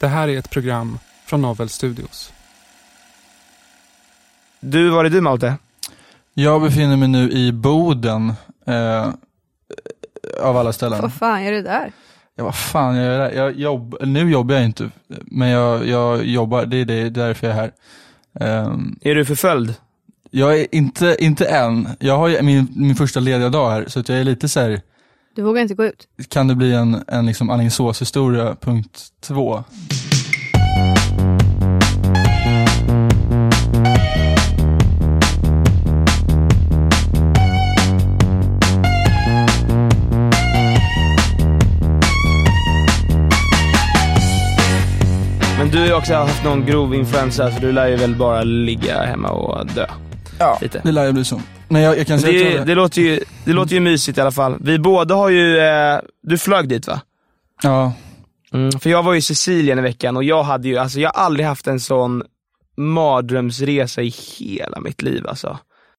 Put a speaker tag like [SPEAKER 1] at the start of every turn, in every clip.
[SPEAKER 1] Det här är ett program från Novel Studios.
[SPEAKER 2] Du, var är du Malte?
[SPEAKER 3] Jag befinner mig nu i Boden, eh, av alla ställen.
[SPEAKER 4] Vad fan är det där?
[SPEAKER 3] Ja, vad fan jag gör där? Jag jobb, nu jobbar jag inte, men jag, jag jobbar, det är det, det är därför jag är här. Ehm,
[SPEAKER 2] Är du förföljd?
[SPEAKER 3] jag är inte, inte än, jag har ju min, min första lediga dag här, så att jag är lite så här.
[SPEAKER 4] Du vågar inte gå ut?
[SPEAKER 3] kan det bli en, en liksom Alingsås-historia punkt två?
[SPEAKER 2] Men du har ju också haft någon grov influensa så du lär ju väl bara ligga hemma och dö.
[SPEAKER 3] Ja,
[SPEAKER 2] Lite.
[SPEAKER 3] det lär ju bli så. Men jag, jag kan säga att
[SPEAKER 2] Det,
[SPEAKER 3] jag-
[SPEAKER 2] det, låter, ju, det låter ju mysigt i alla fall. Vi båda har ju, eh, du flög dit va?
[SPEAKER 3] Ja, Mm.
[SPEAKER 2] För jag var ju i Sicilien i veckan och jag hade ju, alltså jag har aldrig haft en sån mardrömsresa i hela mitt liv alltså.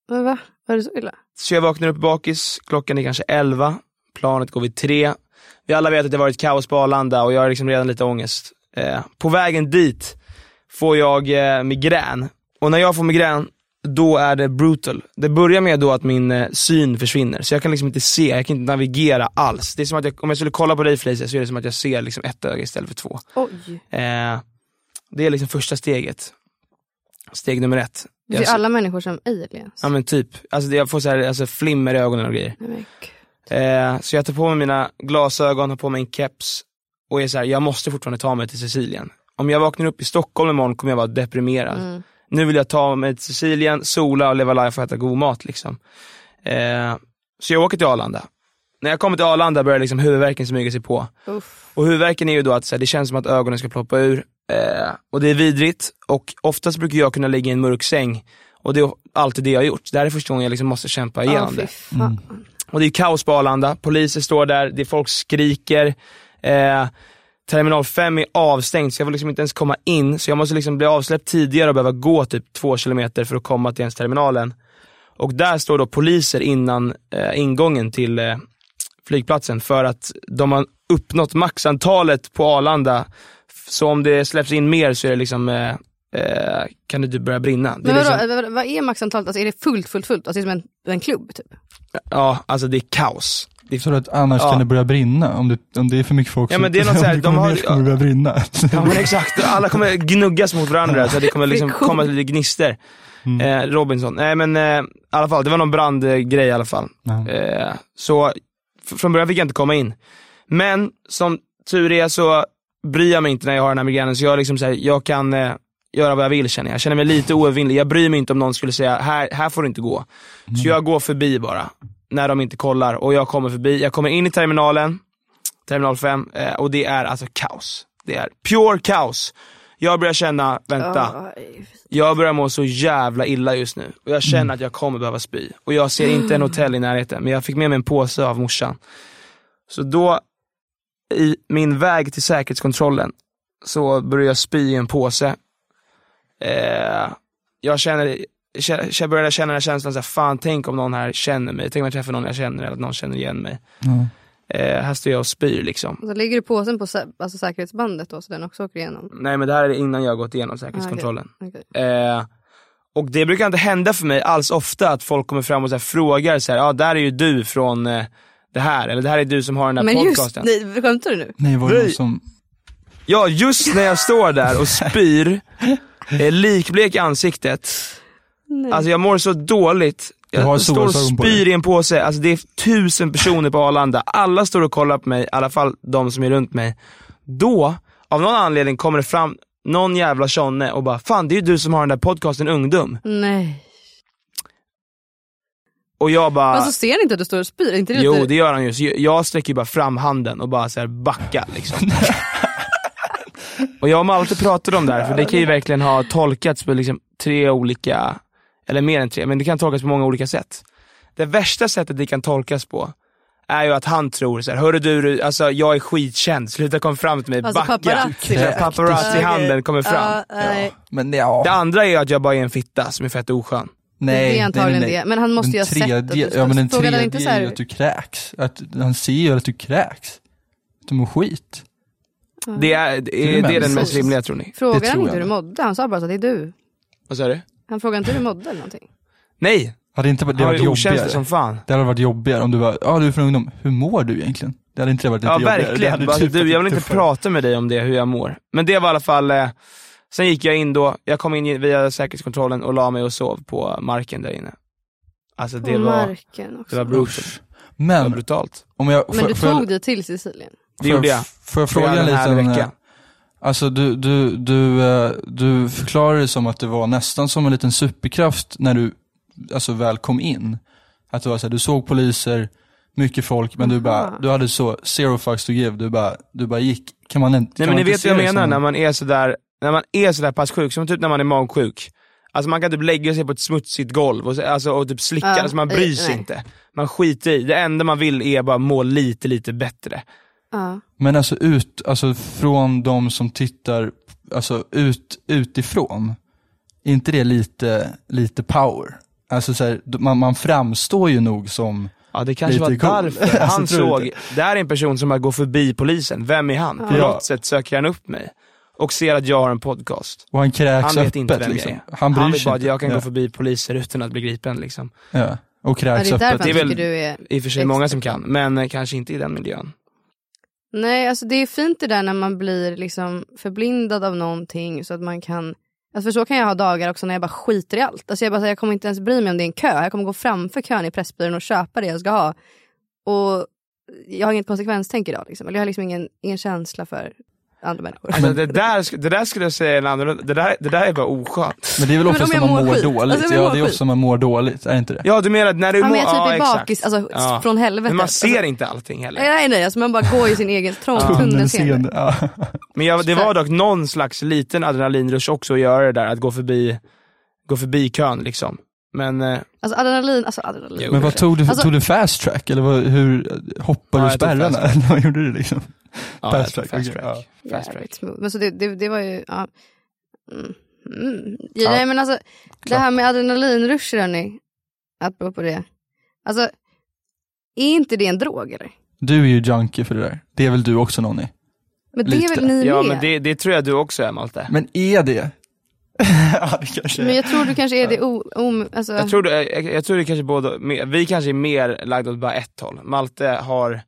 [SPEAKER 4] Men va? Var det så illa?
[SPEAKER 2] Så jag vaknar upp bakis, klockan är kanske 11, planet går vid 3. Vi alla vet att det varit kaos på Arlanda och jag har liksom redan lite ångest. Eh, på vägen dit får jag eh, migrän och när jag får migrän då är det brutal. Det börjar med då att min eh, syn försvinner, så jag kan liksom inte se, jag kan inte navigera alls. Det är som att jag, om jag skulle kolla på dig Felicia så är det som att jag ser liksom ett öga istället för två.
[SPEAKER 4] Oj.
[SPEAKER 2] Eh, det är liksom första steget. Steg nummer ett.
[SPEAKER 4] Det är
[SPEAKER 2] Jag-
[SPEAKER 4] alla människor som aliens.
[SPEAKER 2] Ja men typ. Alltså det- jag får så här, alltså flimmer i ögonen och grejer.
[SPEAKER 4] Nej, men gud.
[SPEAKER 2] Eh, så jag tar på mig mina glasögon, har på mig en keps och är så här, jag måste fortfarande ta mig till Sicilien. Om jag vaknar upp i Stockholm imorgon kommer jag vara deprimerad.
[SPEAKER 4] Mm.
[SPEAKER 2] Nu vill jag ta mig till Sicilien, sola och leva life och äta god mat liksom. Eh, så jag åker till Arlanda. När jag kommer till Arlanda börjar liksom huvudvärken smyga sig på.
[SPEAKER 4] Uff.
[SPEAKER 2] Och huvudvärken är ju då att så här, det känns som att ögonen ska ploppa ur eh, och det är vidrigt och oftast brukar jag kunna ligga i en mörk säng och det är alltid det jag har gjort. Det här är första gången jag liksom måste kämpa
[SPEAKER 4] Ja,
[SPEAKER 2] igenom
[SPEAKER 4] fy
[SPEAKER 2] det.
[SPEAKER 4] fan.
[SPEAKER 2] Och det är ju kaos på Arlanda, poliser står där, det är folk skriker. Eh, Terminal 5 är avstängd så jag får liksom inte ens komma in så jag måste liksom bli avsläppt tidigare och behöva gå typ två kilometer för att komma till ens terminalen. Och där står då poliser innan eh, ingången till eh, flygplatsen för att de har uppnått maxantalet på Arlanda. F- Så om det släpps in mer så är det liksom, eh, eh, kan det typ börja brinna. Det är
[SPEAKER 4] Men vadå,
[SPEAKER 2] liksom,
[SPEAKER 4] vad- vad är maxantalet? Alltså är det fullt, fullt, fullt? Alltså det är som en, en klubb typ?
[SPEAKER 2] ja, alltså det är kaos. Det är
[SPEAKER 3] så att annars
[SPEAKER 2] Ja.
[SPEAKER 3] kan det börja brinna om det, om det är för mycket folk
[SPEAKER 2] Ja,
[SPEAKER 3] som-
[SPEAKER 2] men det är något så här,
[SPEAKER 3] om
[SPEAKER 2] de
[SPEAKER 3] kommer
[SPEAKER 2] har-
[SPEAKER 3] ner så kommer det börja brinna.
[SPEAKER 2] Ja men exakt, alla kommer gnuggas mot varandra så det kommer liksom
[SPEAKER 4] Friktion.
[SPEAKER 2] komma lite gnistor.
[SPEAKER 3] Mm.
[SPEAKER 2] Eh, Robinson, nej men eh, i alla fall, det var någon brandgrej i alla fall.
[SPEAKER 3] Ja.
[SPEAKER 2] Eh, så f- från början fick jag inte komma in. Men som tur är så bryr jag mig inte när jag har den här migränen så jag, liksom så här, jag kan eh, göra vad jag vill känner jag. Jag känner mig lite oövervinnlig. Jag bryr mig inte om någon skulle säga, här, här får du inte gå. Så jag går förbi bara, när de inte kollar. Och jag kommer förbi, jag kommer in i terminalen, terminal 5, eh, och det är alltså kaos. Det är pure kaos. Jag börjar känna, vänta.
[SPEAKER 4] Oj.
[SPEAKER 2] Jag börjar må så jävla illa just nu och jag känner att jag kommer behöva spy. Och jag ser inte en hotell i närheten men jag fick med mig en påse av morsan. Så då, i min väg till säkerhetskontrollen, så börjar jag spy i en påse. Eh, jag känner, kä- jag börjar känna den här känslan, så här, fan tänk om någon här känner mig. Tänk om jag träffar någon jag känner eller att någon känner igen mig.
[SPEAKER 3] Ja.
[SPEAKER 2] Eh, här står jag och spyr liksom.
[SPEAKER 4] Och så lägger du påsen på sä- alltså, säkerhetsbandet då så den också åker igenom?
[SPEAKER 2] Nej men det här är innan jag har gått igenom säkerhetskontrollen.
[SPEAKER 4] Okej.
[SPEAKER 2] Eh, och det brukar inte hända för mig alls ofta att folk kommer fram och så här frågar så här, ja ah, där är ju du från eh, det här, eller det här är du som har den här
[SPEAKER 4] Men just,
[SPEAKER 2] podcasten.
[SPEAKER 4] nej, skämtar du nu?
[SPEAKER 3] Nej, var det någon
[SPEAKER 2] Nej.
[SPEAKER 3] som...
[SPEAKER 2] Ja, just när jag står där och spyr, är likblek i ansiktet. Alltså jag mår så dåligt.
[SPEAKER 3] Du har
[SPEAKER 2] Jag står och
[SPEAKER 3] solglasögon på dig.
[SPEAKER 2] spyr i en påse. Alltså det är tusen personer på Arlanda. Alla står och kollar på mig, i alla fall de som är runt mig. Då, av någon anledning, kommer det fram någon jävla tjonne och bara “Fan, det är ju du som har den där podcasten Ungdom”.
[SPEAKER 4] Nej.
[SPEAKER 2] Och jag bara...
[SPEAKER 4] Alltså ser ni inte att du står och spyr? Är Inte det
[SPEAKER 2] Jo
[SPEAKER 4] lite-
[SPEAKER 2] det gör han ju, så jag- jag sträcker ju bara fram handen och bara så här backa liksom. och jag och Malte pratade om det här, för det kan ju verkligen ha tolkats på liksom tre olika, eller mer än tre, men det kan tolkas på många olika sätt. Det värsta sättet det kan tolkas på är ju att han tror så här, hörru du, du, alltså jag är skitkänd, sluta kom fram till mig,
[SPEAKER 4] Alltså,
[SPEAKER 2] backa.
[SPEAKER 4] paparazzi.
[SPEAKER 2] Så här, Paparazzi-handen kommer fram.
[SPEAKER 4] Ja, nej.
[SPEAKER 3] Men ja.
[SPEAKER 2] Det andra är ju att jag bara är en fitta som är fett oskön.
[SPEAKER 3] Nej,
[SPEAKER 4] Det är antagligen det. Men han måste ju ha sett att du
[SPEAKER 3] tredje, Ja men den
[SPEAKER 4] Frågade
[SPEAKER 3] tredje
[SPEAKER 4] han inte så
[SPEAKER 3] är
[SPEAKER 4] här-
[SPEAKER 3] ju typ- att du kräks. Att, han ser ju att du kräks. Att du mår skit.
[SPEAKER 2] Det är, det är, det är den mest rimliga tror ni?
[SPEAKER 3] Det
[SPEAKER 4] Frågade han
[SPEAKER 3] tror
[SPEAKER 4] inte hur
[SPEAKER 3] jag.
[SPEAKER 4] du mådde? Han sa bara så att det är du.
[SPEAKER 2] Vad sa du?
[SPEAKER 4] Han frågade inte hur du mådde eller någonting.
[SPEAKER 2] Nej,
[SPEAKER 3] Hade inte varit- det
[SPEAKER 2] han
[SPEAKER 3] hade
[SPEAKER 2] var ju
[SPEAKER 3] varit
[SPEAKER 2] okänslig
[SPEAKER 3] jobbigare.
[SPEAKER 2] som fan.
[SPEAKER 3] Det hade varit jobbigare om du bara, ja du är från ungdom, hur mår du egentligen? Det hade inte varit lite
[SPEAKER 2] Ja
[SPEAKER 3] jobbigare. Det
[SPEAKER 2] verkligen.
[SPEAKER 3] hade
[SPEAKER 2] Bara,
[SPEAKER 3] typ
[SPEAKER 2] du,
[SPEAKER 3] varit
[SPEAKER 2] jag vill inte
[SPEAKER 3] tuffare.
[SPEAKER 2] prata med dig om det, hur jag mår. Men det var i alla fall, eh, sen gick jag in då, jag kom in via säkerhetskontrollen och la mig och sov på marken där inne. Alltså det
[SPEAKER 4] På
[SPEAKER 2] var,
[SPEAKER 4] marken också.
[SPEAKER 2] det var, brutalt.
[SPEAKER 3] Usch.
[SPEAKER 2] det var
[SPEAKER 3] Men,
[SPEAKER 2] brutalt.
[SPEAKER 3] om jag,
[SPEAKER 4] Men du
[SPEAKER 3] får- får jag-
[SPEAKER 4] tog dig till Sicilien?
[SPEAKER 2] Det gjorde jag.
[SPEAKER 3] Får jag
[SPEAKER 2] För
[SPEAKER 3] fråga en
[SPEAKER 2] jag hade en
[SPEAKER 3] liten,
[SPEAKER 2] härlig
[SPEAKER 3] eh,
[SPEAKER 2] vecka.
[SPEAKER 3] alltså du, du, du, eh, du förklarar det som att det var nästan som en liten superkraft när du alltså, väl kom in. Att det var så här, du såg poliser, mycket folk, men du bara,
[SPEAKER 4] Aha.
[SPEAKER 3] du hade så zero fucks to give, du bara, du bara gick. Kan man inte,
[SPEAKER 2] Nej
[SPEAKER 3] kan
[SPEAKER 2] men ni
[SPEAKER 3] man inte
[SPEAKER 2] vet
[SPEAKER 3] se liksom-
[SPEAKER 2] vad jag
[SPEAKER 3] det som
[SPEAKER 2] menar
[SPEAKER 3] en-
[SPEAKER 2] när man är sådär, när man är sådär pass sjuk, som typ när man är magsjuk. Alltså man kan typ lägga sig på ett smutsigt golv och, så- alltså, och typ slicka,
[SPEAKER 4] Ja,
[SPEAKER 2] alltså man
[SPEAKER 4] eh,
[SPEAKER 2] bryr sig
[SPEAKER 4] nej.
[SPEAKER 2] inte. Man skiter i, det enda man vill är bara må lite, lite bättre.
[SPEAKER 4] Ja.
[SPEAKER 3] Men alltså ut, alltså från de som tittar, alltså ut, utifrån, är inte det lite, lite power? Alltså så här, man, man framstår ju nog som,
[SPEAKER 2] Ja det kanske
[SPEAKER 3] Lite
[SPEAKER 2] var
[SPEAKER 3] cool.
[SPEAKER 2] därför. Han
[SPEAKER 3] Alltså, tror du
[SPEAKER 2] såg, det här är en person som bara går förbi polisen, vem är han? På
[SPEAKER 3] Ja.
[SPEAKER 2] något sätt söker han upp mig och ser att jag har en podcast.
[SPEAKER 3] och han kräks
[SPEAKER 2] Han vet
[SPEAKER 3] öppet
[SPEAKER 2] inte vem
[SPEAKER 3] liksom.
[SPEAKER 2] jag är.
[SPEAKER 3] Han bryr
[SPEAKER 2] vet
[SPEAKER 3] sig
[SPEAKER 2] bara att jag kan
[SPEAKER 3] ja.
[SPEAKER 2] gå förbi poliser utan att bli gripen liksom.
[SPEAKER 3] Ja. Och
[SPEAKER 4] Ja,
[SPEAKER 3] kräks
[SPEAKER 4] det är därför
[SPEAKER 3] öppet.
[SPEAKER 4] han
[SPEAKER 2] Det är väl-
[SPEAKER 4] tycker du är...
[SPEAKER 2] I och för sig många som kan, men eh, kanske inte i den miljön.
[SPEAKER 4] Nej, alltså det är fint det där när man blir liksom förblindad av någonting så att man kan... Alltså för så kan jag ha dagar också när jag bara skiter i allt. Alltså jag, bara, så här, jag kommer inte ens bry mig om det är en kö. Jag kommer gå framför kön i Pressbyrån och köpa det jag ska ha. Och jag har inget konsekvenstänk idag. Liksom. Eller jag har liksom ingen, ingen känsla för andra människor.
[SPEAKER 2] Alltså, det, där, sk- det där skulle jag säga är en annorlunda, det där, det där är bara oskönt.
[SPEAKER 3] Men det är väl
[SPEAKER 4] Men
[SPEAKER 3] ofta
[SPEAKER 4] om
[SPEAKER 3] som
[SPEAKER 4] jag
[SPEAKER 3] man
[SPEAKER 4] mår
[SPEAKER 3] mår
[SPEAKER 4] skit.
[SPEAKER 3] dåligt?
[SPEAKER 4] Alltså, om jag
[SPEAKER 3] ja,
[SPEAKER 4] mår
[SPEAKER 3] det är ofta
[SPEAKER 4] skit.
[SPEAKER 3] som man mår dåligt, är det inte
[SPEAKER 4] Mm,
[SPEAKER 3] det?
[SPEAKER 2] Ja du menar när du
[SPEAKER 4] Ja,
[SPEAKER 2] mår,
[SPEAKER 4] men jag typ är
[SPEAKER 2] exakt.
[SPEAKER 4] bakis alltså,
[SPEAKER 2] Ja.
[SPEAKER 4] från helvete.
[SPEAKER 2] Men man ser
[SPEAKER 4] alltså,
[SPEAKER 2] inte allting heller.
[SPEAKER 4] Nej, nej, nej. Alltså man bara går i sin egen trång tunnelseende.
[SPEAKER 3] Ja.
[SPEAKER 2] Men jag, det var dock någon slags liten adrenalinrush också att göra det där, att gå förbi, gå förbi kön liksom. Men eh,
[SPEAKER 4] Alltså adrenalin, alltså adrenalin.
[SPEAKER 2] Jo.
[SPEAKER 3] Men vad tog du,
[SPEAKER 4] Alltså-
[SPEAKER 3] tog du fast track? Eller vad, hur, hoppade
[SPEAKER 2] Ja,
[SPEAKER 3] du
[SPEAKER 2] jag tog
[SPEAKER 3] spärrarna?
[SPEAKER 2] fast
[SPEAKER 3] Eller vad gjorde du liksom?
[SPEAKER 2] ja,
[SPEAKER 3] Fast track,
[SPEAKER 2] fast
[SPEAKER 3] okej,
[SPEAKER 2] track.
[SPEAKER 3] ja.
[SPEAKER 2] Fast track.
[SPEAKER 4] Jävligt smooth. Men så det, det, det var ju, ja. Mm. Mm.
[SPEAKER 2] Ja.
[SPEAKER 4] Ja, nej men alltså, det här med adrenalinrusher hörni, att på det. Alltså, är inte det en drog eller?
[SPEAKER 3] Du är ju junkie för det där. Det är väl du också Nonny?
[SPEAKER 4] Men det
[SPEAKER 3] Lite.
[SPEAKER 4] är väl ni
[SPEAKER 2] Ja
[SPEAKER 4] med?
[SPEAKER 2] men det, det tror jag du också är Malte.
[SPEAKER 3] Men är det? ja, det kanske är.
[SPEAKER 4] Men jag tror du kanske är det o, om, alltså,
[SPEAKER 2] Jag tror, du, jag, jag tror det kanske båda, mer- vi kanske är mer lagda åt bara ett håll. Malte har,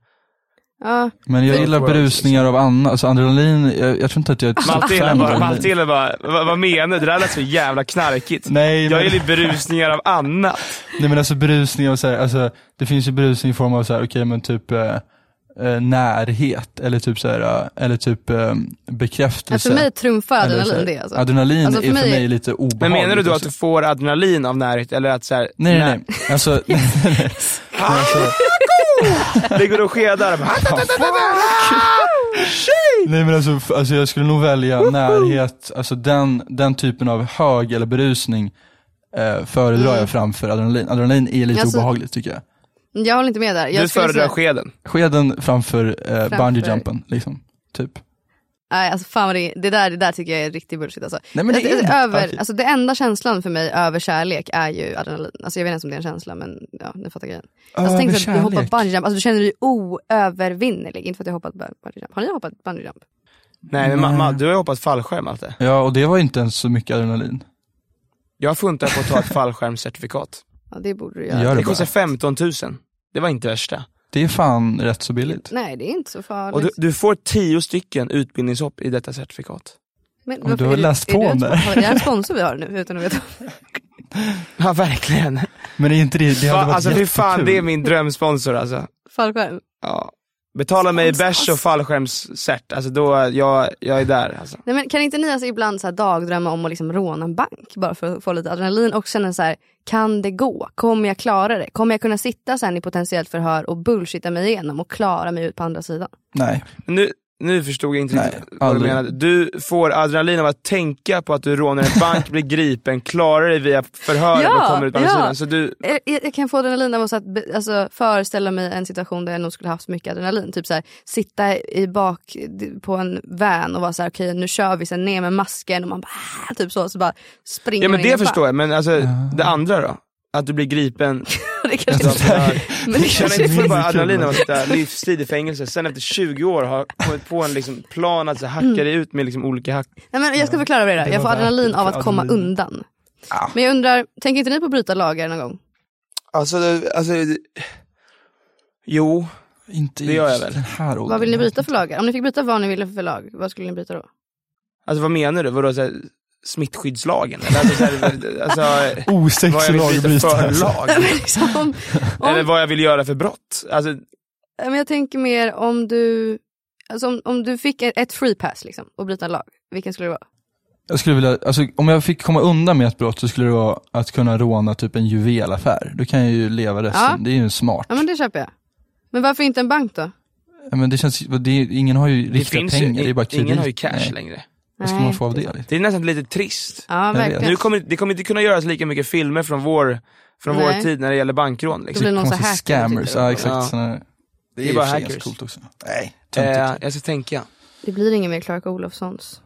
[SPEAKER 4] ja,
[SPEAKER 3] Men jag
[SPEAKER 2] Det tror
[SPEAKER 3] gillar
[SPEAKER 2] jag också,
[SPEAKER 3] berusningar av annat, alltså adrenalin, jag, jag tror inte att jag är ett
[SPEAKER 4] Alltså,
[SPEAKER 3] stort
[SPEAKER 2] Malte gillar
[SPEAKER 3] fan av
[SPEAKER 2] bara,
[SPEAKER 3] adrenalin.
[SPEAKER 2] Malte gillar bara, vad, vad menar du? Det där lät så jävla knarkigt.
[SPEAKER 3] Nej,
[SPEAKER 2] Jag
[SPEAKER 3] men,
[SPEAKER 2] gillar berusningar av annat.
[SPEAKER 3] nej men alltså berusning och så här, alltså, det finns ju berusning i form av så här, okej men typ eh, eh, närhet eller typ så här, eh, eller typ eh,
[SPEAKER 4] ja,
[SPEAKER 3] bekräftelse.
[SPEAKER 4] för mig trumfar
[SPEAKER 3] Eller så här,
[SPEAKER 4] adrenalin det alltså.
[SPEAKER 3] Adrenalin
[SPEAKER 4] Alltså, för
[SPEAKER 3] är för
[SPEAKER 4] mig-
[SPEAKER 3] mig lite obehagligt.
[SPEAKER 2] Men menar du då att
[SPEAKER 3] alltså.
[SPEAKER 2] du får adrenalin av närhet eller att såhär,
[SPEAKER 3] Nej nej nej, alltså, nej, nej, nej. Men alltså
[SPEAKER 2] Ah! det går och skedar.
[SPEAKER 3] Nej men alltså, f- alltså jag skulle nog välja närhet, alltså den, den typen av hög eller berusning eh, föredrar jag framför adrenalin. Adrenalin är lite
[SPEAKER 4] Mm. Alltså-
[SPEAKER 3] obehagligt tycker jag.
[SPEAKER 4] Jag håller inte med där. Jag
[SPEAKER 2] Du
[SPEAKER 4] skulle
[SPEAKER 2] föredrar
[SPEAKER 4] säga-
[SPEAKER 2] skeden.
[SPEAKER 3] Skeden framför, eh, bungee jumpen liksom, typ.
[SPEAKER 4] Nej, alltså fan vad det, det, där, det där tycker jag är riktig bullshit. Alltså.
[SPEAKER 3] Nej, men det
[SPEAKER 4] alltså,
[SPEAKER 3] är
[SPEAKER 4] alltså,
[SPEAKER 3] det.
[SPEAKER 4] över,
[SPEAKER 3] Okej.
[SPEAKER 4] alltså, det enda känslan för mig över kärlek är ju adrenalin. Alltså, jag vet inte ens om det är en känsla men ja, ni fattar grejen. Alltså, tänk
[SPEAKER 3] Över
[SPEAKER 4] dig att du hoppar
[SPEAKER 3] kärlek.
[SPEAKER 4] bungyjump, alltså, du känner dig oövervinnerlig. Inte för att jag hoppat bu- bungyjump. Har ni hoppat bungyjump?
[SPEAKER 2] Nej men mamma, du har ju hoppat fallskärm Malte.
[SPEAKER 3] Ja och det var ju inte ens så mycket adrenalin.
[SPEAKER 2] Jag funtar på att ta ett fallskärmscertifikat.
[SPEAKER 4] Ja det borde du göra.
[SPEAKER 3] Gör det
[SPEAKER 2] Det
[SPEAKER 3] bara.
[SPEAKER 2] kostar 15 000. Det var inte värsta.
[SPEAKER 3] Det är fan rätt så billigt.
[SPEAKER 4] Nej det är inte så farligt.
[SPEAKER 2] Och du, du får tio stycken utbildningshopp i detta certifikat.
[SPEAKER 4] Men
[SPEAKER 3] du har
[SPEAKER 4] är
[SPEAKER 3] läst
[SPEAKER 4] är
[SPEAKER 3] på
[SPEAKER 4] du
[SPEAKER 3] om
[SPEAKER 4] en
[SPEAKER 3] det här.
[SPEAKER 4] sponsor? Det är en sponsor vi har nu utan att veta.
[SPEAKER 2] Ja verkligen.
[SPEAKER 3] Men det är inte det, det hade
[SPEAKER 2] Fan,
[SPEAKER 3] varit
[SPEAKER 2] alltså fy fan,
[SPEAKER 3] jättekul.
[SPEAKER 2] det är min drömsponsor alltså.
[SPEAKER 4] Fallskärm.
[SPEAKER 2] Ja. Betala mig
[SPEAKER 5] Sponsor
[SPEAKER 2] bärs och
[SPEAKER 5] oss.
[SPEAKER 2] fallskärmscert, alltså då, jag, jag är där alltså.
[SPEAKER 4] Nej, men kan inte ni alltså ibland så här dagdrömma om att liksom råna en bank bara för att få lite adrenalin och känna så här, kan det gå? Kommer jag klara det? Kommer jag kunna sitta sen i potentiellt förhör och bullshitta mig igenom och klara mig ut på andra sidan?
[SPEAKER 3] Nej.
[SPEAKER 2] Nu, nu förstod jag inte
[SPEAKER 3] Nej,
[SPEAKER 2] riktigt vad du
[SPEAKER 3] aldrig.
[SPEAKER 2] menade. Du får adrenalin av att tänka på att du rånar en bank, blir gripen, klarar dig via förhör och
[SPEAKER 4] Ja,
[SPEAKER 2] kommer ut på andra
[SPEAKER 4] ja.
[SPEAKER 2] sidan. Så du,
[SPEAKER 4] Jag, jag, jag kan få adrenalin av att be- alltså, föreställa mig en situation där jag nog skulle haft så mycket adrenalin. Typ så här, sitta i bak d- på en van och vara så här, okej nu kör vi, sen ner med masken och man bara, "Ah", typ så, så bara springer
[SPEAKER 2] ja
[SPEAKER 4] man
[SPEAKER 2] men
[SPEAKER 4] in i
[SPEAKER 2] det
[SPEAKER 4] en bank.
[SPEAKER 2] förstår jag, men alltså det andra då? Att du blir gripen,
[SPEAKER 4] Det kanske
[SPEAKER 2] utav
[SPEAKER 4] inte,
[SPEAKER 2] förhör.
[SPEAKER 4] men det
[SPEAKER 2] Alltså, Känner
[SPEAKER 4] kanske
[SPEAKER 2] inte
[SPEAKER 4] inte
[SPEAKER 2] för
[SPEAKER 3] mindre
[SPEAKER 2] bara adrenalin
[SPEAKER 3] kul.
[SPEAKER 2] av att sitta livstid i fängelse, sen efter 20 år har kommit på en liksom plan att så hacka dig ut med liksom olika hack.
[SPEAKER 4] Nej, men jag ska förklara vad det är.
[SPEAKER 3] Det
[SPEAKER 4] Jag får
[SPEAKER 3] var värt
[SPEAKER 4] adrenalin
[SPEAKER 3] det
[SPEAKER 4] av
[SPEAKER 3] för
[SPEAKER 4] att komma
[SPEAKER 3] adrenalin.
[SPEAKER 4] undan. Men jag undrar, tänker inte ni på att bryta lagar någon gång?
[SPEAKER 2] Alltså, alltså Jo,
[SPEAKER 3] Inte
[SPEAKER 2] Det gör jag
[SPEAKER 3] just
[SPEAKER 2] väl.
[SPEAKER 3] Den här
[SPEAKER 2] Oh,
[SPEAKER 3] åldern.
[SPEAKER 4] Vad vill ni bryta för lagar? Om ni fick bryta vad ni ville för lag, vad skulle ni bryta då?
[SPEAKER 2] alltså vad menar du? Vadå så här, smittskyddslagen? Eller, alltså, så här, alltså,
[SPEAKER 3] Oh,
[SPEAKER 2] vad jag
[SPEAKER 3] Osexig
[SPEAKER 2] vill bryta
[SPEAKER 3] lagbrytare.
[SPEAKER 2] för
[SPEAKER 3] Alltså.
[SPEAKER 2] lag?
[SPEAKER 4] Nej, men liksom, om,
[SPEAKER 2] Eller
[SPEAKER 4] om,
[SPEAKER 2] vad jag vill göra för brott? Alltså,
[SPEAKER 4] men jag tänker mer om du, alltså om, om du fick ett free pass liksom, och bryta lag, vilken skulle det vara?
[SPEAKER 3] Jag skulle vilja, alltså, om jag fick komma undan med ett brott så skulle det vara att kunna råna typ en juvelaffär. Då kan jag ju leva resten,
[SPEAKER 4] Ja.
[SPEAKER 3] det är ju smart.
[SPEAKER 4] Ja men det köper jag. Men varför inte en bank då?
[SPEAKER 3] Ja, men det känns, det är, ingen har ju
[SPEAKER 2] det
[SPEAKER 3] riktiga
[SPEAKER 2] finns
[SPEAKER 3] pengar,
[SPEAKER 2] ju,
[SPEAKER 3] det är bara kredit.
[SPEAKER 2] ingen har ju cash
[SPEAKER 3] Nej.
[SPEAKER 2] längre.
[SPEAKER 3] Vad ska
[SPEAKER 4] Nej.
[SPEAKER 3] man få av det? Liksom?
[SPEAKER 2] Det är nästan lite trist.
[SPEAKER 4] Ja
[SPEAKER 3] vet.
[SPEAKER 4] verkligen.
[SPEAKER 2] Nu kommer, det kommer inte kunna göras lika mycket filmer från vår, från vår
[SPEAKER 4] Nej.
[SPEAKER 2] tid när det gäller bankrån.
[SPEAKER 4] Då
[SPEAKER 2] Liksom.
[SPEAKER 4] blir det någon sån här
[SPEAKER 3] Konstiga
[SPEAKER 4] hacker.
[SPEAKER 3] scammers,
[SPEAKER 4] typ.
[SPEAKER 3] ja exakt.
[SPEAKER 2] Ja.
[SPEAKER 3] Såna, det,
[SPEAKER 2] är
[SPEAKER 3] är
[SPEAKER 2] bara
[SPEAKER 3] bara
[SPEAKER 2] hackers.
[SPEAKER 3] hackers. Coolt också. Nej,
[SPEAKER 2] Eh,
[SPEAKER 3] töntigt.
[SPEAKER 2] jag ska tänka.
[SPEAKER 4] Det blir ingen mer Clark Olofssons.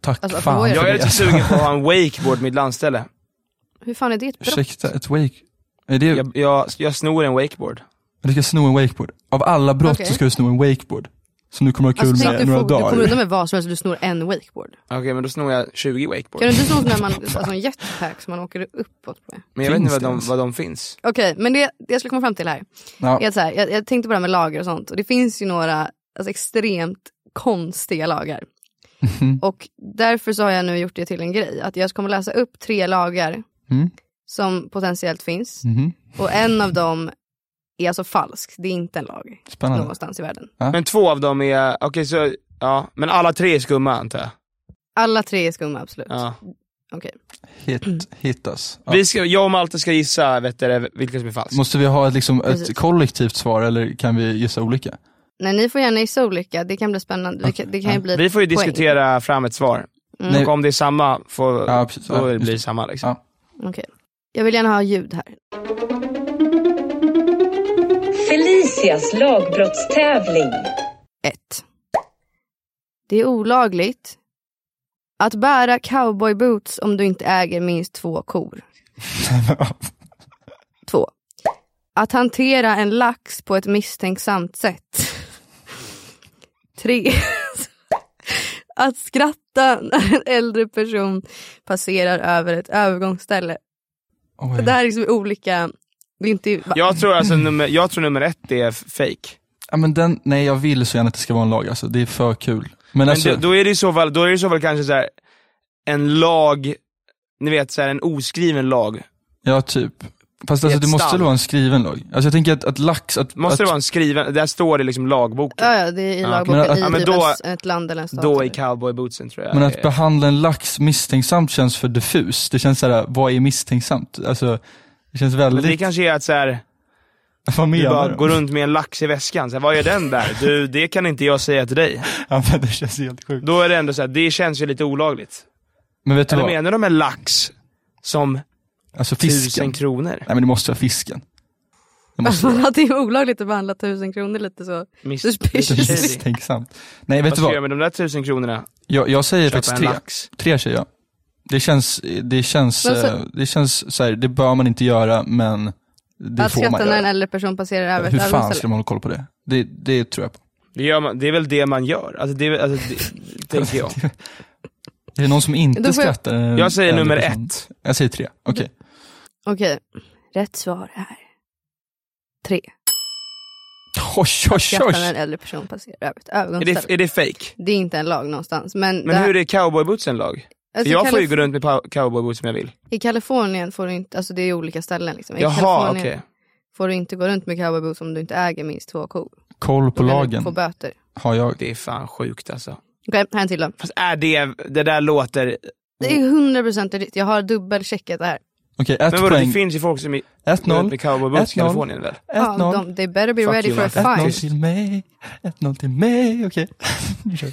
[SPEAKER 3] Tack
[SPEAKER 4] alltså,
[SPEAKER 3] fan
[SPEAKER 4] vad
[SPEAKER 3] för
[SPEAKER 4] var
[SPEAKER 2] Jag är
[SPEAKER 3] det.
[SPEAKER 2] lite sugen på att ha en wakeboard mitt landställe.
[SPEAKER 4] Hur fan är det ett brott?
[SPEAKER 3] Ursäkta, ett wake... Är det,
[SPEAKER 2] Jag, jag, jag snor en wakeboard.
[SPEAKER 3] Du ska sno en wakeboard. Av alla brott
[SPEAKER 4] Okej.
[SPEAKER 3] så ska du sno en wakeboard. Som du kommer ha kul
[SPEAKER 4] Alltså, tänk,
[SPEAKER 3] med
[SPEAKER 4] du,
[SPEAKER 3] några
[SPEAKER 4] får, du kommer
[SPEAKER 3] dagar.
[SPEAKER 4] undan med vad som helst, du snor en wakeboard.
[SPEAKER 2] Okej, men då snor jag 20 wakeboards.
[SPEAKER 4] Kan du inte sno när man, alltså en jetpack som man åker uppåt med?
[SPEAKER 2] Men jag vet inte
[SPEAKER 3] Finns
[SPEAKER 2] vad
[SPEAKER 3] det
[SPEAKER 2] de,
[SPEAKER 3] ens?
[SPEAKER 2] vad de finns.
[SPEAKER 4] Okej, men det, det jag skulle komma fram till här.
[SPEAKER 3] Ja.
[SPEAKER 4] är att så här, jag, jag tänkte på det här med lagar och sånt. Och det finns ju några alltså, extremt konstiga lagar.
[SPEAKER 3] Mhm.
[SPEAKER 4] Och därför så har jag nu gjort det till en grej. Att jag kommer läsa upp tre lagar
[SPEAKER 3] Mm.
[SPEAKER 4] som potentiellt finns.
[SPEAKER 3] Mhm.
[SPEAKER 2] Mm.
[SPEAKER 4] Och en av dem är alltså falsk. Det är inte en lag
[SPEAKER 2] Ah.
[SPEAKER 3] Spännande.
[SPEAKER 4] någonstans i världen.
[SPEAKER 2] Men två av dem är, okej så, ja. Men alla tre är skumma antar jag.
[SPEAKER 4] Alla tre är skumma, absolut.
[SPEAKER 2] Ja.
[SPEAKER 4] Okej.
[SPEAKER 3] Hit, hittas. Ja.
[SPEAKER 2] Vi ska, jag och Malte ska gissa vet du, vilka som är falskt.
[SPEAKER 3] Måste vi ha ett, liksom,
[SPEAKER 4] Precis.
[SPEAKER 3] ett kollektivt svar eller kan vi gissa olika?
[SPEAKER 4] Nej, ni får gärna gissa olika. Det kan bli spännande. Vi kan, det kan ju bli
[SPEAKER 2] Vi får ju
[SPEAKER 4] poäng. Mm.
[SPEAKER 2] diskutera fram ett svar.
[SPEAKER 3] Nej.
[SPEAKER 2] Och om det är samma, får,
[SPEAKER 3] Ja, precis.
[SPEAKER 2] då
[SPEAKER 3] Ja, just
[SPEAKER 2] blir det
[SPEAKER 3] det.
[SPEAKER 2] samma. Liksom.
[SPEAKER 3] Ja.
[SPEAKER 4] Okej. Jag vill gärna ha ljud här.
[SPEAKER 6] Felicias lagbrottstävling.
[SPEAKER 4] 1. Det är olagligt att bära cowboyboots om du inte äger minst två kor. 2. Att hantera en lax på ett misstänksamt sätt. 3. Att skratta när en äldre person passerar över ett övergångsställe.
[SPEAKER 3] Oj.
[SPEAKER 4] Det här är liksom olika... Det är inte...
[SPEAKER 2] Jag, tror alltså nummer, jag tror nummer ett är f- fake.
[SPEAKER 3] Ja, men den, nej, jag vill så gärna att det ska vara en lag alltså. Det är för kul. Men,
[SPEAKER 2] Men
[SPEAKER 3] alltså,
[SPEAKER 2] då, då är det i så fall, då är det i så fall kanske så här, en lag, ni vet så här, en oskriven lag.
[SPEAKER 3] ja typ. Fast
[SPEAKER 2] I
[SPEAKER 3] alltså,
[SPEAKER 2] ett
[SPEAKER 3] det måste
[SPEAKER 2] stall.
[SPEAKER 3] väl vara en skriven lag? Alltså jag tänker att, att lax, att,
[SPEAKER 2] Måste
[SPEAKER 3] att,
[SPEAKER 2] det vara en skriven, där står det liksom lagboken.
[SPEAKER 4] Ja, ja, det är i lagboken
[SPEAKER 3] men-
[SPEAKER 4] i
[SPEAKER 3] ja,
[SPEAKER 2] men
[SPEAKER 4] typ
[SPEAKER 2] då-
[SPEAKER 4] en, ett land eller en stat.
[SPEAKER 2] Då
[SPEAKER 4] eller-
[SPEAKER 2] är cowboybootsen tror jag.
[SPEAKER 3] men att
[SPEAKER 2] är-
[SPEAKER 3] behandla en lax misstänksamt känns för diffus. Det känns såhär, vad är misstänksamt? Alltså, det känns
[SPEAKER 2] men
[SPEAKER 3] väldigt,
[SPEAKER 2] det kanske är att så här,
[SPEAKER 3] vad
[SPEAKER 2] du
[SPEAKER 3] menar
[SPEAKER 2] bara
[SPEAKER 3] de?
[SPEAKER 2] går runt med en lax i väskan, så här, vad är den där? Du, det kan inte jag säga till dig.
[SPEAKER 3] Ja, men det känns helt sjukt.
[SPEAKER 2] Då är det ändå så här, det känns ju lite olagligt.
[SPEAKER 3] Men vet du
[SPEAKER 2] Eller
[SPEAKER 3] vad?
[SPEAKER 2] menar de en lax som
[SPEAKER 3] Alltså
[SPEAKER 2] tusen
[SPEAKER 3] fisken.
[SPEAKER 2] kronor?
[SPEAKER 3] Nej men det måste vara fisken. Det måste vara
[SPEAKER 4] Alltså, det är olagligt att behandla tusen kronor lite så.
[SPEAKER 2] Miss-
[SPEAKER 4] Suspicious.
[SPEAKER 2] Lite shady.
[SPEAKER 3] misstänksamt. Nej vet
[SPEAKER 2] Vad
[SPEAKER 3] du
[SPEAKER 2] ska jag göra
[SPEAKER 3] vad?
[SPEAKER 2] med de där tusen kronorna?
[SPEAKER 3] Jag, jag säger
[SPEAKER 2] Köpa
[SPEAKER 3] faktiskt
[SPEAKER 2] en
[SPEAKER 3] tre.
[SPEAKER 2] lax?
[SPEAKER 3] Tre säger jag. Det känns, det känns,
[SPEAKER 4] Men så-
[SPEAKER 3] eh, det känns så här, det bör man inte göra men det
[SPEAKER 4] att
[SPEAKER 3] får
[SPEAKER 4] skratta
[SPEAKER 3] man
[SPEAKER 4] när en
[SPEAKER 3] göra.
[SPEAKER 4] äldre person passerar över
[SPEAKER 3] Hur
[SPEAKER 4] ett
[SPEAKER 3] fan ska
[SPEAKER 4] övergångsställe.
[SPEAKER 3] man hålla koll på det? Det, det tror jag på.
[SPEAKER 2] Det, gör man, det är väl det man gör? Alltså, det, är väl- alltså, det, tänker jag.
[SPEAKER 3] Är det någon som
[SPEAKER 4] Då
[SPEAKER 3] inte
[SPEAKER 4] får jag-
[SPEAKER 3] skrattar? Eh, när en
[SPEAKER 2] Jag säger
[SPEAKER 3] äldre
[SPEAKER 2] nummer
[SPEAKER 3] person-
[SPEAKER 2] ett.
[SPEAKER 3] Jag säger tre, okej.
[SPEAKER 4] Okej, rätt svar är tre.
[SPEAKER 3] Oj, oj, oj.
[SPEAKER 4] skrattar när en äldre person passerar över ett
[SPEAKER 2] Är det,
[SPEAKER 4] övergångsställe.
[SPEAKER 2] är det fake?
[SPEAKER 4] Det är inte en lag någonstans. Men,
[SPEAKER 2] Men
[SPEAKER 4] det-
[SPEAKER 2] hur är cowboybootsen lag? För
[SPEAKER 4] alltså,
[SPEAKER 2] jag får ju
[SPEAKER 4] Kalif-
[SPEAKER 2] gå runt med pow- cowboyboots som jag vill.
[SPEAKER 4] I Kalifornien får du inte, alltså det är olika ställen liksom. I
[SPEAKER 2] Jaha,
[SPEAKER 4] Kalifornien
[SPEAKER 2] okej.
[SPEAKER 4] får du inte gå runt med cowboyboots om du inte äger minst två kor.
[SPEAKER 3] Koll på
[SPEAKER 4] Då kan du få
[SPEAKER 3] lagen
[SPEAKER 4] böter.
[SPEAKER 3] har jag.
[SPEAKER 2] Det är fan sjukt alltså.
[SPEAKER 4] Okej, här är en till då.
[SPEAKER 2] Fast är det, det där låter...
[SPEAKER 4] Det är 100% riktigt, jag har dubbelcheckat det här.
[SPEAKER 3] Okej,
[SPEAKER 2] Men
[SPEAKER 3] ett
[SPEAKER 2] vadå, det
[SPEAKER 3] poäng.
[SPEAKER 2] finns ju folk som är runt
[SPEAKER 3] 1-0.
[SPEAKER 2] med cowboyboots i
[SPEAKER 3] 1-0.
[SPEAKER 2] Kalifornien väl?
[SPEAKER 4] Ja,
[SPEAKER 3] 1-0.
[SPEAKER 4] de, they better be
[SPEAKER 2] Fuck
[SPEAKER 4] ready
[SPEAKER 2] you,
[SPEAKER 4] for a
[SPEAKER 2] Marcus.
[SPEAKER 3] 1-0
[SPEAKER 4] fine.
[SPEAKER 3] till mig. 1-0 till mig. Okej. Vi kör.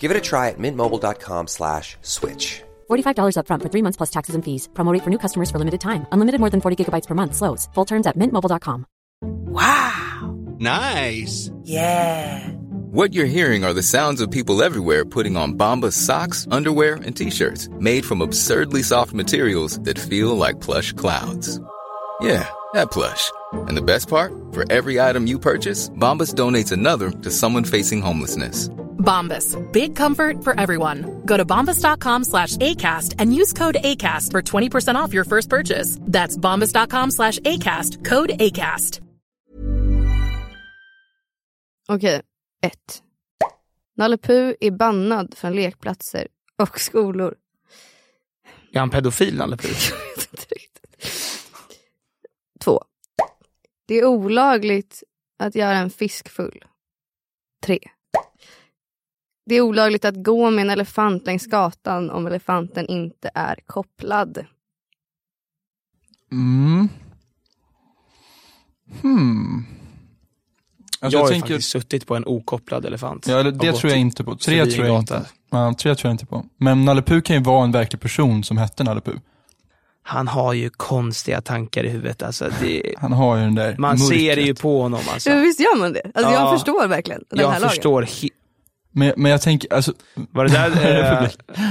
[SPEAKER 7] Give it a try at mintmobile.com slash switch.
[SPEAKER 8] $45 upfront for three months plus taxes and fees. Promo rate for new customers for limited time. Unlimited more than 40 gigabytes per month. Slows. Full terms at mintmobile.com.
[SPEAKER 9] Nice.
[SPEAKER 6] Yeah.
[SPEAKER 9] What you're hearing are the sounds of people everywhere putting on Bombas socks, underwear, and t-shirts made from absurdly soft materials that feel like plush clouds. Yeah, that plush. And the best part? For every item you purchase, Bombas donates another to someone facing homelessness.
[SPEAKER 10] Bombas. Big comfort for everyone. Go to bombas.com slash ACAST and use code ACAST for 20% off your first purchase. That's bombas.com slash ACAST. Code ACAST.
[SPEAKER 4] Okej, ett. Nalle Puh är bannad från lekplatser och skolor.
[SPEAKER 2] Är han pedofil Nalle Puh?
[SPEAKER 4] Jag vet inte riktigt. Två. Det är olagligt att göra en fisk full. Tre. Det är olagligt att gå med en elefant längs gatan om elefanten inte är kopplad.
[SPEAKER 3] Mm. Hmm. Alltså
[SPEAKER 2] jag
[SPEAKER 3] jag,
[SPEAKER 2] har ju
[SPEAKER 3] tänker,
[SPEAKER 2] faktiskt suttit på en okopplad elefant.
[SPEAKER 3] ja, eller
[SPEAKER 2] Och
[SPEAKER 3] det
[SPEAKER 2] gått
[SPEAKER 3] tror jag inte på. Tre
[SPEAKER 2] förbi
[SPEAKER 3] tror
[SPEAKER 2] en
[SPEAKER 3] jag
[SPEAKER 2] gata.
[SPEAKER 3] inte. Ja, tre tror jag inte på. Men Nalle Puh kan ju vara en verklig person som hette Nalle Puh.
[SPEAKER 2] Han har ju konstiga tankar i huvudet alltså. Det,
[SPEAKER 3] Han har ju den där
[SPEAKER 2] man
[SPEAKER 3] mörkret.
[SPEAKER 2] ser det ju på honom alltså.
[SPEAKER 4] Ja, visst gör man det? Alltså,
[SPEAKER 2] Ja.
[SPEAKER 4] Jag förstår verkligen den här
[SPEAKER 2] Jag
[SPEAKER 4] lagen.
[SPEAKER 2] förstår. He-
[SPEAKER 3] Men, men jag tänker, alltså,
[SPEAKER 2] var det där, eh,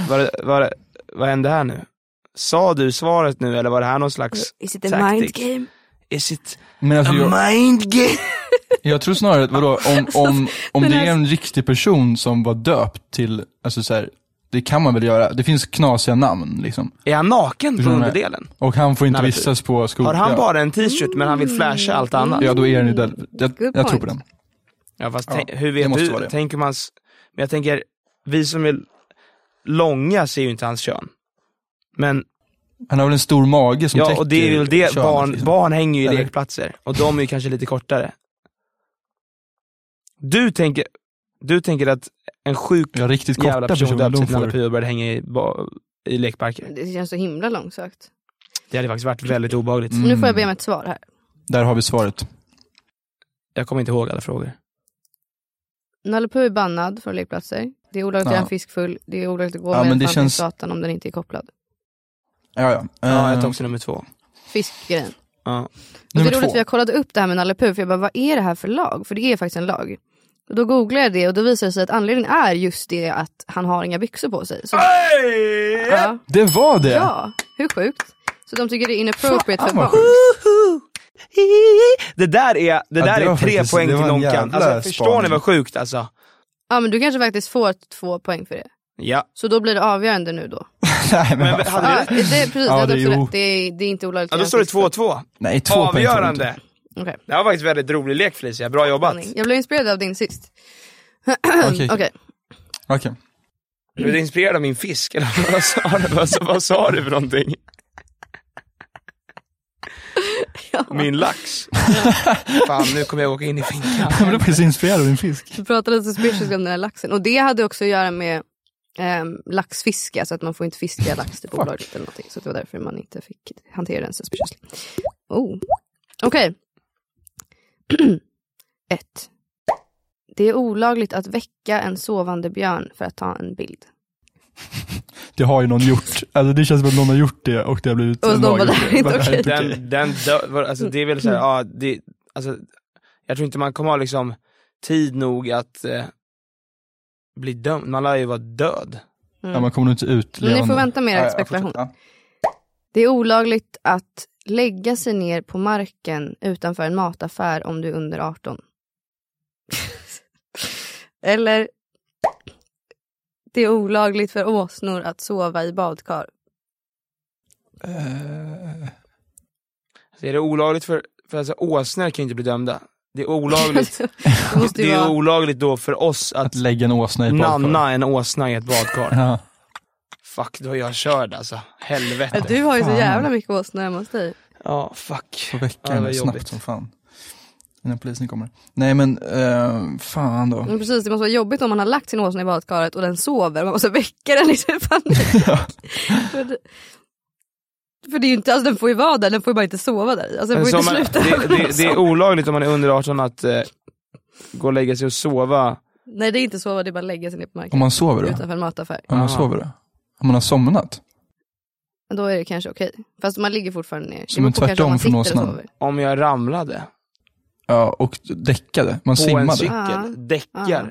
[SPEAKER 2] var det, var det, vad hände här nu? Sa du svaret nu eller var det här någon slags
[SPEAKER 4] Is it a
[SPEAKER 2] taktik?
[SPEAKER 4] mind game?
[SPEAKER 2] Is it
[SPEAKER 3] men alltså jag,
[SPEAKER 2] a mind game?
[SPEAKER 3] jag tror snarare att, vadå, om,
[SPEAKER 2] Alltså,
[SPEAKER 3] om, om det är en riktig person som var döpt till, alltså så här, det kan man väl göra, det finns knasiga namn liksom.
[SPEAKER 2] Är han naken på
[SPEAKER 3] Förstår du vad jag
[SPEAKER 2] underdelen?
[SPEAKER 3] Och han får inte
[SPEAKER 2] Nalle Puh.
[SPEAKER 3] vistas på skolan.
[SPEAKER 2] Har han bara Mm, en t-shirt men han vill flasha allt annat?
[SPEAKER 3] Ja, då är den ju där. Jag,
[SPEAKER 4] Good
[SPEAKER 3] jag tror
[SPEAKER 4] point.
[SPEAKER 3] på den.
[SPEAKER 2] Ja fast
[SPEAKER 3] Ja,
[SPEAKER 2] tänk, hur
[SPEAKER 3] det
[SPEAKER 2] vet
[SPEAKER 3] måste
[SPEAKER 2] du?
[SPEAKER 3] vara det.
[SPEAKER 2] Tänker man, s- men jag tänker, vi som är långa ser ju inte hans kön. Men,
[SPEAKER 3] Han har väl en stor mage som
[SPEAKER 2] ja
[SPEAKER 3] täcker
[SPEAKER 2] och det är väl det,
[SPEAKER 3] könet,
[SPEAKER 2] barn,
[SPEAKER 3] liksom.
[SPEAKER 2] barn hänger ju i
[SPEAKER 3] Eller?
[SPEAKER 2] lekplatser. Och de är ju kanske lite kortare. Du tänker, du tänker att en sjuk
[SPEAKER 3] Ja, riktigt korta
[SPEAKER 2] jävla person
[SPEAKER 3] personer,
[SPEAKER 2] döpte
[SPEAKER 3] de
[SPEAKER 2] till Nalle
[SPEAKER 3] får...
[SPEAKER 2] Puh och började hänga i, ba- i lekparker.
[SPEAKER 4] Det känns så himla långsökt.
[SPEAKER 2] Det hade faktiskt varit väldigt obehagligt.
[SPEAKER 4] Men Nu får jag be om ett svar här.
[SPEAKER 3] Mm, Där har vi svaret.
[SPEAKER 2] Jag kommer inte ihåg alla frågor.
[SPEAKER 4] Nalle Puh är bannad från lekplatser. Det är olagligt att
[SPEAKER 3] Ja.
[SPEAKER 4] göra en fisk full. Det är olagligt att gå
[SPEAKER 3] Ja,
[SPEAKER 4] med
[SPEAKER 3] men
[SPEAKER 4] en
[SPEAKER 3] det
[SPEAKER 4] elefant
[SPEAKER 3] känns-
[SPEAKER 4] längs gatan om den inte är kopplad.
[SPEAKER 3] Ja, ja.
[SPEAKER 2] Ja,
[SPEAKER 3] Eh,
[SPEAKER 2] jag tar också nummer två.
[SPEAKER 4] Fiskgrejen.
[SPEAKER 2] Ja.
[SPEAKER 4] Och det
[SPEAKER 3] Nummer
[SPEAKER 4] är roligt
[SPEAKER 3] två.
[SPEAKER 4] att vi har kollat upp det här med Nalle Puh, för jag bara, vad är det här för lag? För det är faktiskt en lag. Och då googlade jag det och då visade det sig att anledningen är just det att han har inga byxor på sig.
[SPEAKER 3] Ah!
[SPEAKER 4] Så, ja,
[SPEAKER 3] Det var det!
[SPEAKER 4] ja, hur sjukt? Så de tycker det är inappropriate för
[SPEAKER 3] Fan, vad
[SPEAKER 4] barn.
[SPEAKER 2] Det där är, det
[SPEAKER 3] Ja,
[SPEAKER 2] där
[SPEAKER 3] det
[SPEAKER 2] är
[SPEAKER 3] var
[SPEAKER 2] tre
[SPEAKER 3] faktiskt-
[SPEAKER 2] poäng
[SPEAKER 3] det
[SPEAKER 2] till
[SPEAKER 3] var en
[SPEAKER 2] någon kan.
[SPEAKER 3] jävla
[SPEAKER 2] Alltså, förstår ni
[SPEAKER 3] spaning.
[SPEAKER 2] vad sjukt alltså?
[SPEAKER 4] Ja men du kanske faktiskt får två poäng för det.
[SPEAKER 2] Ja.
[SPEAKER 4] Så då blir det avgörande nu då.
[SPEAKER 3] Nej, men, vad fan.
[SPEAKER 2] Hade vi
[SPEAKER 4] Ja,
[SPEAKER 2] rätt?
[SPEAKER 4] det, precis, det,
[SPEAKER 3] Ja, det
[SPEAKER 4] hade
[SPEAKER 3] är
[SPEAKER 4] också
[SPEAKER 3] ju-
[SPEAKER 4] rätt. det, är, det är inte olagligt.
[SPEAKER 2] Ja,
[SPEAKER 4] att
[SPEAKER 2] då
[SPEAKER 4] göra
[SPEAKER 2] står det
[SPEAKER 4] en fisk full.
[SPEAKER 2] 2-2.
[SPEAKER 3] Nej, två poäng får du inte.
[SPEAKER 2] Avgörande.
[SPEAKER 4] Okej.
[SPEAKER 2] Det här var faktiskt väldigt rolig lek Felicia, bra jobbat.
[SPEAKER 4] Jag blev inspirerad av din sist.
[SPEAKER 3] Okej.
[SPEAKER 4] Okej.
[SPEAKER 3] Okej.
[SPEAKER 2] Du blev inspirerad av min fisk, eller vad sa du, vad, sa- vad sa du för någonting? Min lax. Fan, nu kommer jag åka in i finkan.
[SPEAKER 3] Jag blev faktiskt inspirerad av din fisk.
[SPEAKER 4] Vi pratade lite suspicious om den här laxen. Och det hade också att göra med ehm, laxfiske, alltså att man får inte fiska lax typ olagligt eller någonting. Så det var därför man inte fick hantera den suspiciously. Oh. Okej. Ett. Det är olagligt att väcka en sovande björn för att ta en bild.
[SPEAKER 3] Det har ju någon gjort. Alltså det känns som att någon har gjort det och det har blivit
[SPEAKER 4] Och
[SPEAKER 3] en
[SPEAKER 4] någon bara,
[SPEAKER 3] lag.
[SPEAKER 4] "Det här är inte
[SPEAKER 3] Bara,
[SPEAKER 4] okej."
[SPEAKER 3] okej.
[SPEAKER 2] alltså, Den, den dö- var- alltså det är väl såhär, ja, det, alltså, jag tror inte man kommer ha liksom tid nog att eh, bli dömd. Man lär ju vara död.
[SPEAKER 4] Mm. Ja, man kommer nog
[SPEAKER 3] inte ut
[SPEAKER 4] Men ni får vänta med er spekulation. Det är olagligt att lägga sig ner på marken utanför en mataffär om du är under 18. Eller det är olagligt för åsnor att sova i badkar.
[SPEAKER 2] Så Alltså, är det olagligt för, för alltså, åsnor kan ju inte bli dömda. Det är olagligt,
[SPEAKER 4] det måste ju
[SPEAKER 2] det är
[SPEAKER 4] vara-
[SPEAKER 2] olagligt då för oss att, att
[SPEAKER 3] lägga en åsna i ett badkar.
[SPEAKER 2] Nanna en åsna i ett badkar.
[SPEAKER 3] Ja.
[SPEAKER 2] Fuck, då är jag körd alltså. Helvete.
[SPEAKER 4] Du har ju så jävla mycket åsnor hemma hos dig.
[SPEAKER 2] Ja, fuck. Ja,
[SPEAKER 3] Får väcka
[SPEAKER 2] det
[SPEAKER 3] henne
[SPEAKER 2] var
[SPEAKER 3] snabbt
[SPEAKER 2] jobbigt.
[SPEAKER 3] som fan. Innan polisen kommer. Nej men, eh, fan då.
[SPEAKER 4] Men precis, det måste vara jobbigt om man har lagt sin åsna i badkaret och den sover och man måste väcka den i sin panik. för, det, för det är ju inte, alltså den får ju vara där, den får ju bara inte sova där i. Alltså den
[SPEAKER 2] Men
[SPEAKER 4] får ju
[SPEAKER 2] så
[SPEAKER 4] inte
[SPEAKER 2] man,
[SPEAKER 4] sluta.
[SPEAKER 2] det, det, det är olagligt om man är under 18 att eh, gå och lägga sig och sova.
[SPEAKER 4] Nej det är inte sova, det är bara lägga sig ner på marken.
[SPEAKER 3] Om man sover då?
[SPEAKER 4] Utanför en mataffär.
[SPEAKER 3] Om man sover då? Om man har somnat?
[SPEAKER 4] Då är det kanske okej. Fast man ligger fortfarande ner. Det
[SPEAKER 3] Som
[SPEAKER 4] beror
[SPEAKER 3] en
[SPEAKER 4] på kanske om
[SPEAKER 3] tvärtom från
[SPEAKER 4] man sitter och
[SPEAKER 3] åsnan.
[SPEAKER 4] sover.
[SPEAKER 2] Om jag ramlade
[SPEAKER 3] Ja, och däckade. Man
[SPEAKER 2] på en cykel,
[SPEAKER 3] simmade.
[SPEAKER 4] Ja.
[SPEAKER 2] däckar.
[SPEAKER 4] Ja. Ah.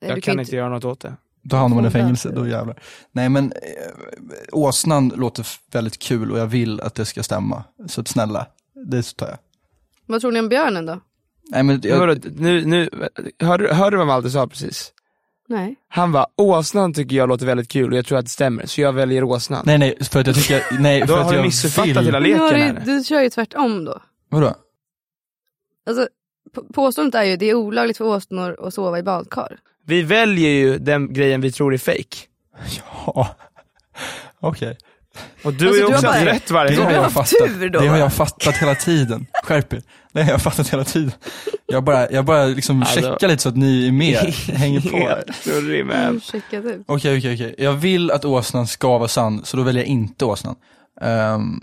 [SPEAKER 4] Du
[SPEAKER 2] Jag
[SPEAKER 4] kan
[SPEAKER 2] kan
[SPEAKER 4] inte-
[SPEAKER 2] inte göra något åt det.
[SPEAKER 3] Då hamnar man i
[SPEAKER 4] Åh,
[SPEAKER 3] fängelse, då jävlar. Nej men, eh, åsnan låter f- väldigt kul och jag vill att det ska stämma. Så att snälla, det tar jag.
[SPEAKER 4] Vad tror ni om björnen då?
[SPEAKER 3] Nej men,
[SPEAKER 2] Men
[SPEAKER 3] jag,
[SPEAKER 2] vadå, nu, nu, hörde, hörde du vad Malte sa precis?
[SPEAKER 4] Nej.
[SPEAKER 2] Han var åsnan tycker jag låter väldigt kul och jag tror att det stämmer, så jag väljer åsnan.
[SPEAKER 3] nej nej, för att jag tycker, nej
[SPEAKER 2] Då
[SPEAKER 3] för
[SPEAKER 2] har
[SPEAKER 3] att
[SPEAKER 2] du
[SPEAKER 3] jag
[SPEAKER 2] missuppfattat
[SPEAKER 3] vill.
[SPEAKER 2] hela
[SPEAKER 4] Men
[SPEAKER 2] leken
[SPEAKER 4] har du,
[SPEAKER 2] här.
[SPEAKER 4] du kör ju tvärtom då.
[SPEAKER 3] Vadå?
[SPEAKER 4] Alltså, p- påståendet är ju det är olagligt för åsnor att sova i badkar.
[SPEAKER 2] Vi väljer ju den grejen vi tror är fake.
[SPEAKER 3] Ja. Okej.
[SPEAKER 2] Och du
[SPEAKER 4] Alltså,
[SPEAKER 2] är
[SPEAKER 4] du har
[SPEAKER 2] också
[SPEAKER 4] bara-
[SPEAKER 2] rätt varje
[SPEAKER 3] Det har
[SPEAKER 2] gång.
[SPEAKER 3] jag
[SPEAKER 4] haft
[SPEAKER 3] fattat.
[SPEAKER 4] tur då,
[SPEAKER 3] Det har
[SPEAKER 4] va?
[SPEAKER 3] jag fattat hela tiden. Skärp er. Det har jag fattat hela tiden. Jag bara, jag bara liksom
[SPEAKER 2] Alltså-
[SPEAKER 3] checkar lite så att ni är med, hänger på.
[SPEAKER 2] Helt surrig man.
[SPEAKER 4] Mm, checka du.
[SPEAKER 3] Okej, okej, okej. Jag vill att åsnan ska vara sann, så då väljer jag inte åsnan. Ehm,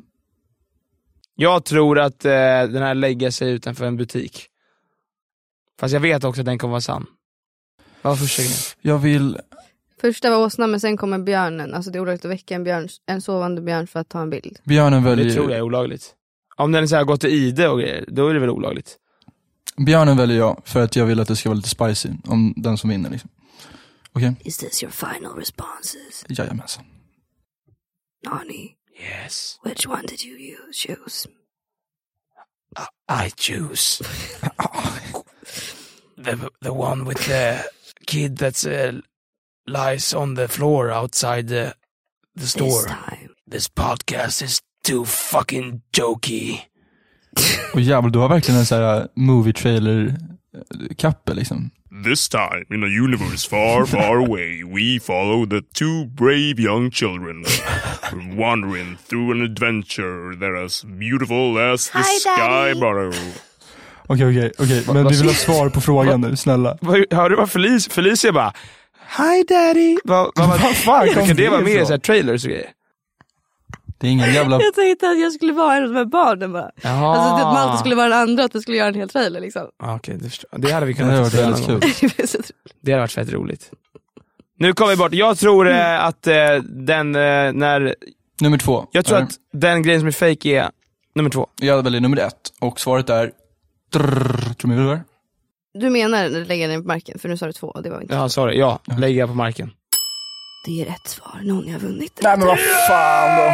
[SPEAKER 2] Jag tror att eh, den här lägger sig utanför en butik. Fast jag vet också att den kommer vara sann. Vad var första grejen?
[SPEAKER 3] jag vill,
[SPEAKER 4] Första var åsnan men sen kommer björnen. Alltså det är olagligt att väcka en, björn, en sovande björn för att ta en bild.
[SPEAKER 3] björnen
[SPEAKER 2] Det tror jag
[SPEAKER 3] väljer,
[SPEAKER 2] är olagligt. Om den så här gått till ide och grejer, då är det väl olagligt.
[SPEAKER 3] björnen väljer jag för att jag vill att det ska vara lite spicy, om den som vinner liksom. Okej,
[SPEAKER 4] Is this your final responses?
[SPEAKER 3] jajamensan.
[SPEAKER 4] Nani,
[SPEAKER 2] Yes,
[SPEAKER 4] which one did you use- choose?
[SPEAKER 2] I choose. the, the one with the kid that uh, lies on the floor outside the, the
[SPEAKER 4] This time.
[SPEAKER 2] This podcast is too fucking jokey.
[SPEAKER 3] Och jävlar, du har verkligen en sån här äh, movie trailer-kappe liksom.
[SPEAKER 11] This time, in a universe far, far away, we follow the two brave young children wandering through an adventure that is beautiful as the sky below.
[SPEAKER 3] Okej, okej, okej, men vi vill ha svar på frågan nu, snälla.
[SPEAKER 2] Hör du vad Felicia, Felicia bara Hi daddy! Vad vad- vad fan
[SPEAKER 3] kom
[SPEAKER 2] kan det
[SPEAKER 3] det
[SPEAKER 2] vara med i
[SPEAKER 3] ifrån?
[SPEAKER 2] så här trailers och grejer?
[SPEAKER 3] Det är ingen jävla
[SPEAKER 4] Jag tänkte att jag skulle vara en av de här barnen bara.
[SPEAKER 2] Jaha.
[SPEAKER 4] Alltså det- att Malte skulle vara den andra, att vi skulle göra en hel trailer liksom.
[SPEAKER 2] Ah, Okej, det förstår jag. Det hade vi
[SPEAKER 3] Det hade
[SPEAKER 2] kunnat
[SPEAKER 3] varit
[SPEAKER 2] göra
[SPEAKER 3] väldigt
[SPEAKER 2] någon gång.
[SPEAKER 3] kul.
[SPEAKER 4] Det blir så tr-
[SPEAKER 2] Det hade varit fett roligt. Nu kommer vi bort. Jag tror eh, att eh, den, eh, när,
[SPEAKER 3] Nummer två.
[SPEAKER 2] jag tror
[SPEAKER 3] Är-
[SPEAKER 2] att den grejen som är fake är nummer två.
[SPEAKER 3] Jag väljer nummer ett och svaret är... Drrr, tror ni det var?
[SPEAKER 4] Du menar när du lägger den på marken, för nu sa du två och det var inte.
[SPEAKER 2] Ja, sorry. Ja, lägga på marken.
[SPEAKER 4] Det är rätt svar, någon har vunnit.
[SPEAKER 3] Nej men vad fan då.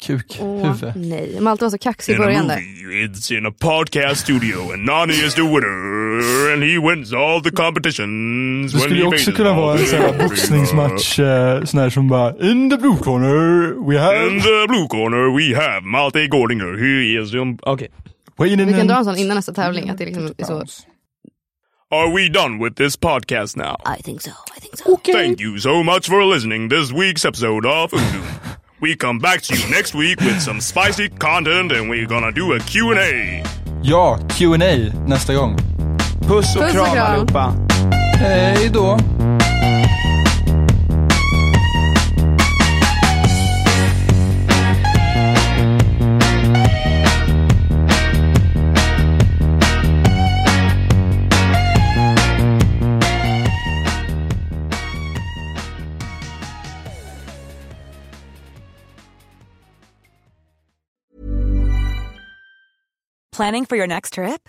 [SPEAKER 3] Kuk,
[SPEAKER 4] Åh
[SPEAKER 3] huvud.
[SPEAKER 4] nej, Malte var så kaxig i
[SPEAKER 11] In a
[SPEAKER 4] början där.
[SPEAKER 11] movie, it's in a podcast studio, and Nani is the winner, and he wins all the competitions.
[SPEAKER 3] Det
[SPEAKER 11] when
[SPEAKER 3] skulle
[SPEAKER 11] he
[SPEAKER 3] ju också
[SPEAKER 11] faces
[SPEAKER 3] kunna
[SPEAKER 11] all
[SPEAKER 3] vara en
[SPEAKER 11] the
[SPEAKER 3] sån här
[SPEAKER 11] competitions.
[SPEAKER 3] boxningsmatch, eh, sån här som bara In the blue corner, we
[SPEAKER 11] In
[SPEAKER 3] have
[SPEAKER 11] the blue corner we have Malte Gordinger, who is... Um,
[SPEAKER 2] Okej.
[SPEAKER 3] Wayne
[SPEAKER 4] Vi kan
[SPEAKER 3] in-
[SPEAKER 4] dra en sån innan nästa tävling, att det liksom är så.
[SPEAKER 11] are we done with this podcast now?
[SPEAKER 4] I think so, I think so.
[SPEAKER 11] Thank you so much for listening this week's episode of Udo. we come back to you next week with some spicy content and we're gonna do a Q&A.
[SPEAKER 3] Ja, Q&A nästa gång.
[SPEAKER 2] Puss och
[SPEAKER 4] Puss och
[SPEAKER 2] kram
[SPEAKER 4] kram.
[SPEAKER 2] allihopa.
[SPEAKER 3] Hej då.
[SPEAKER 5] Planning for your next trip?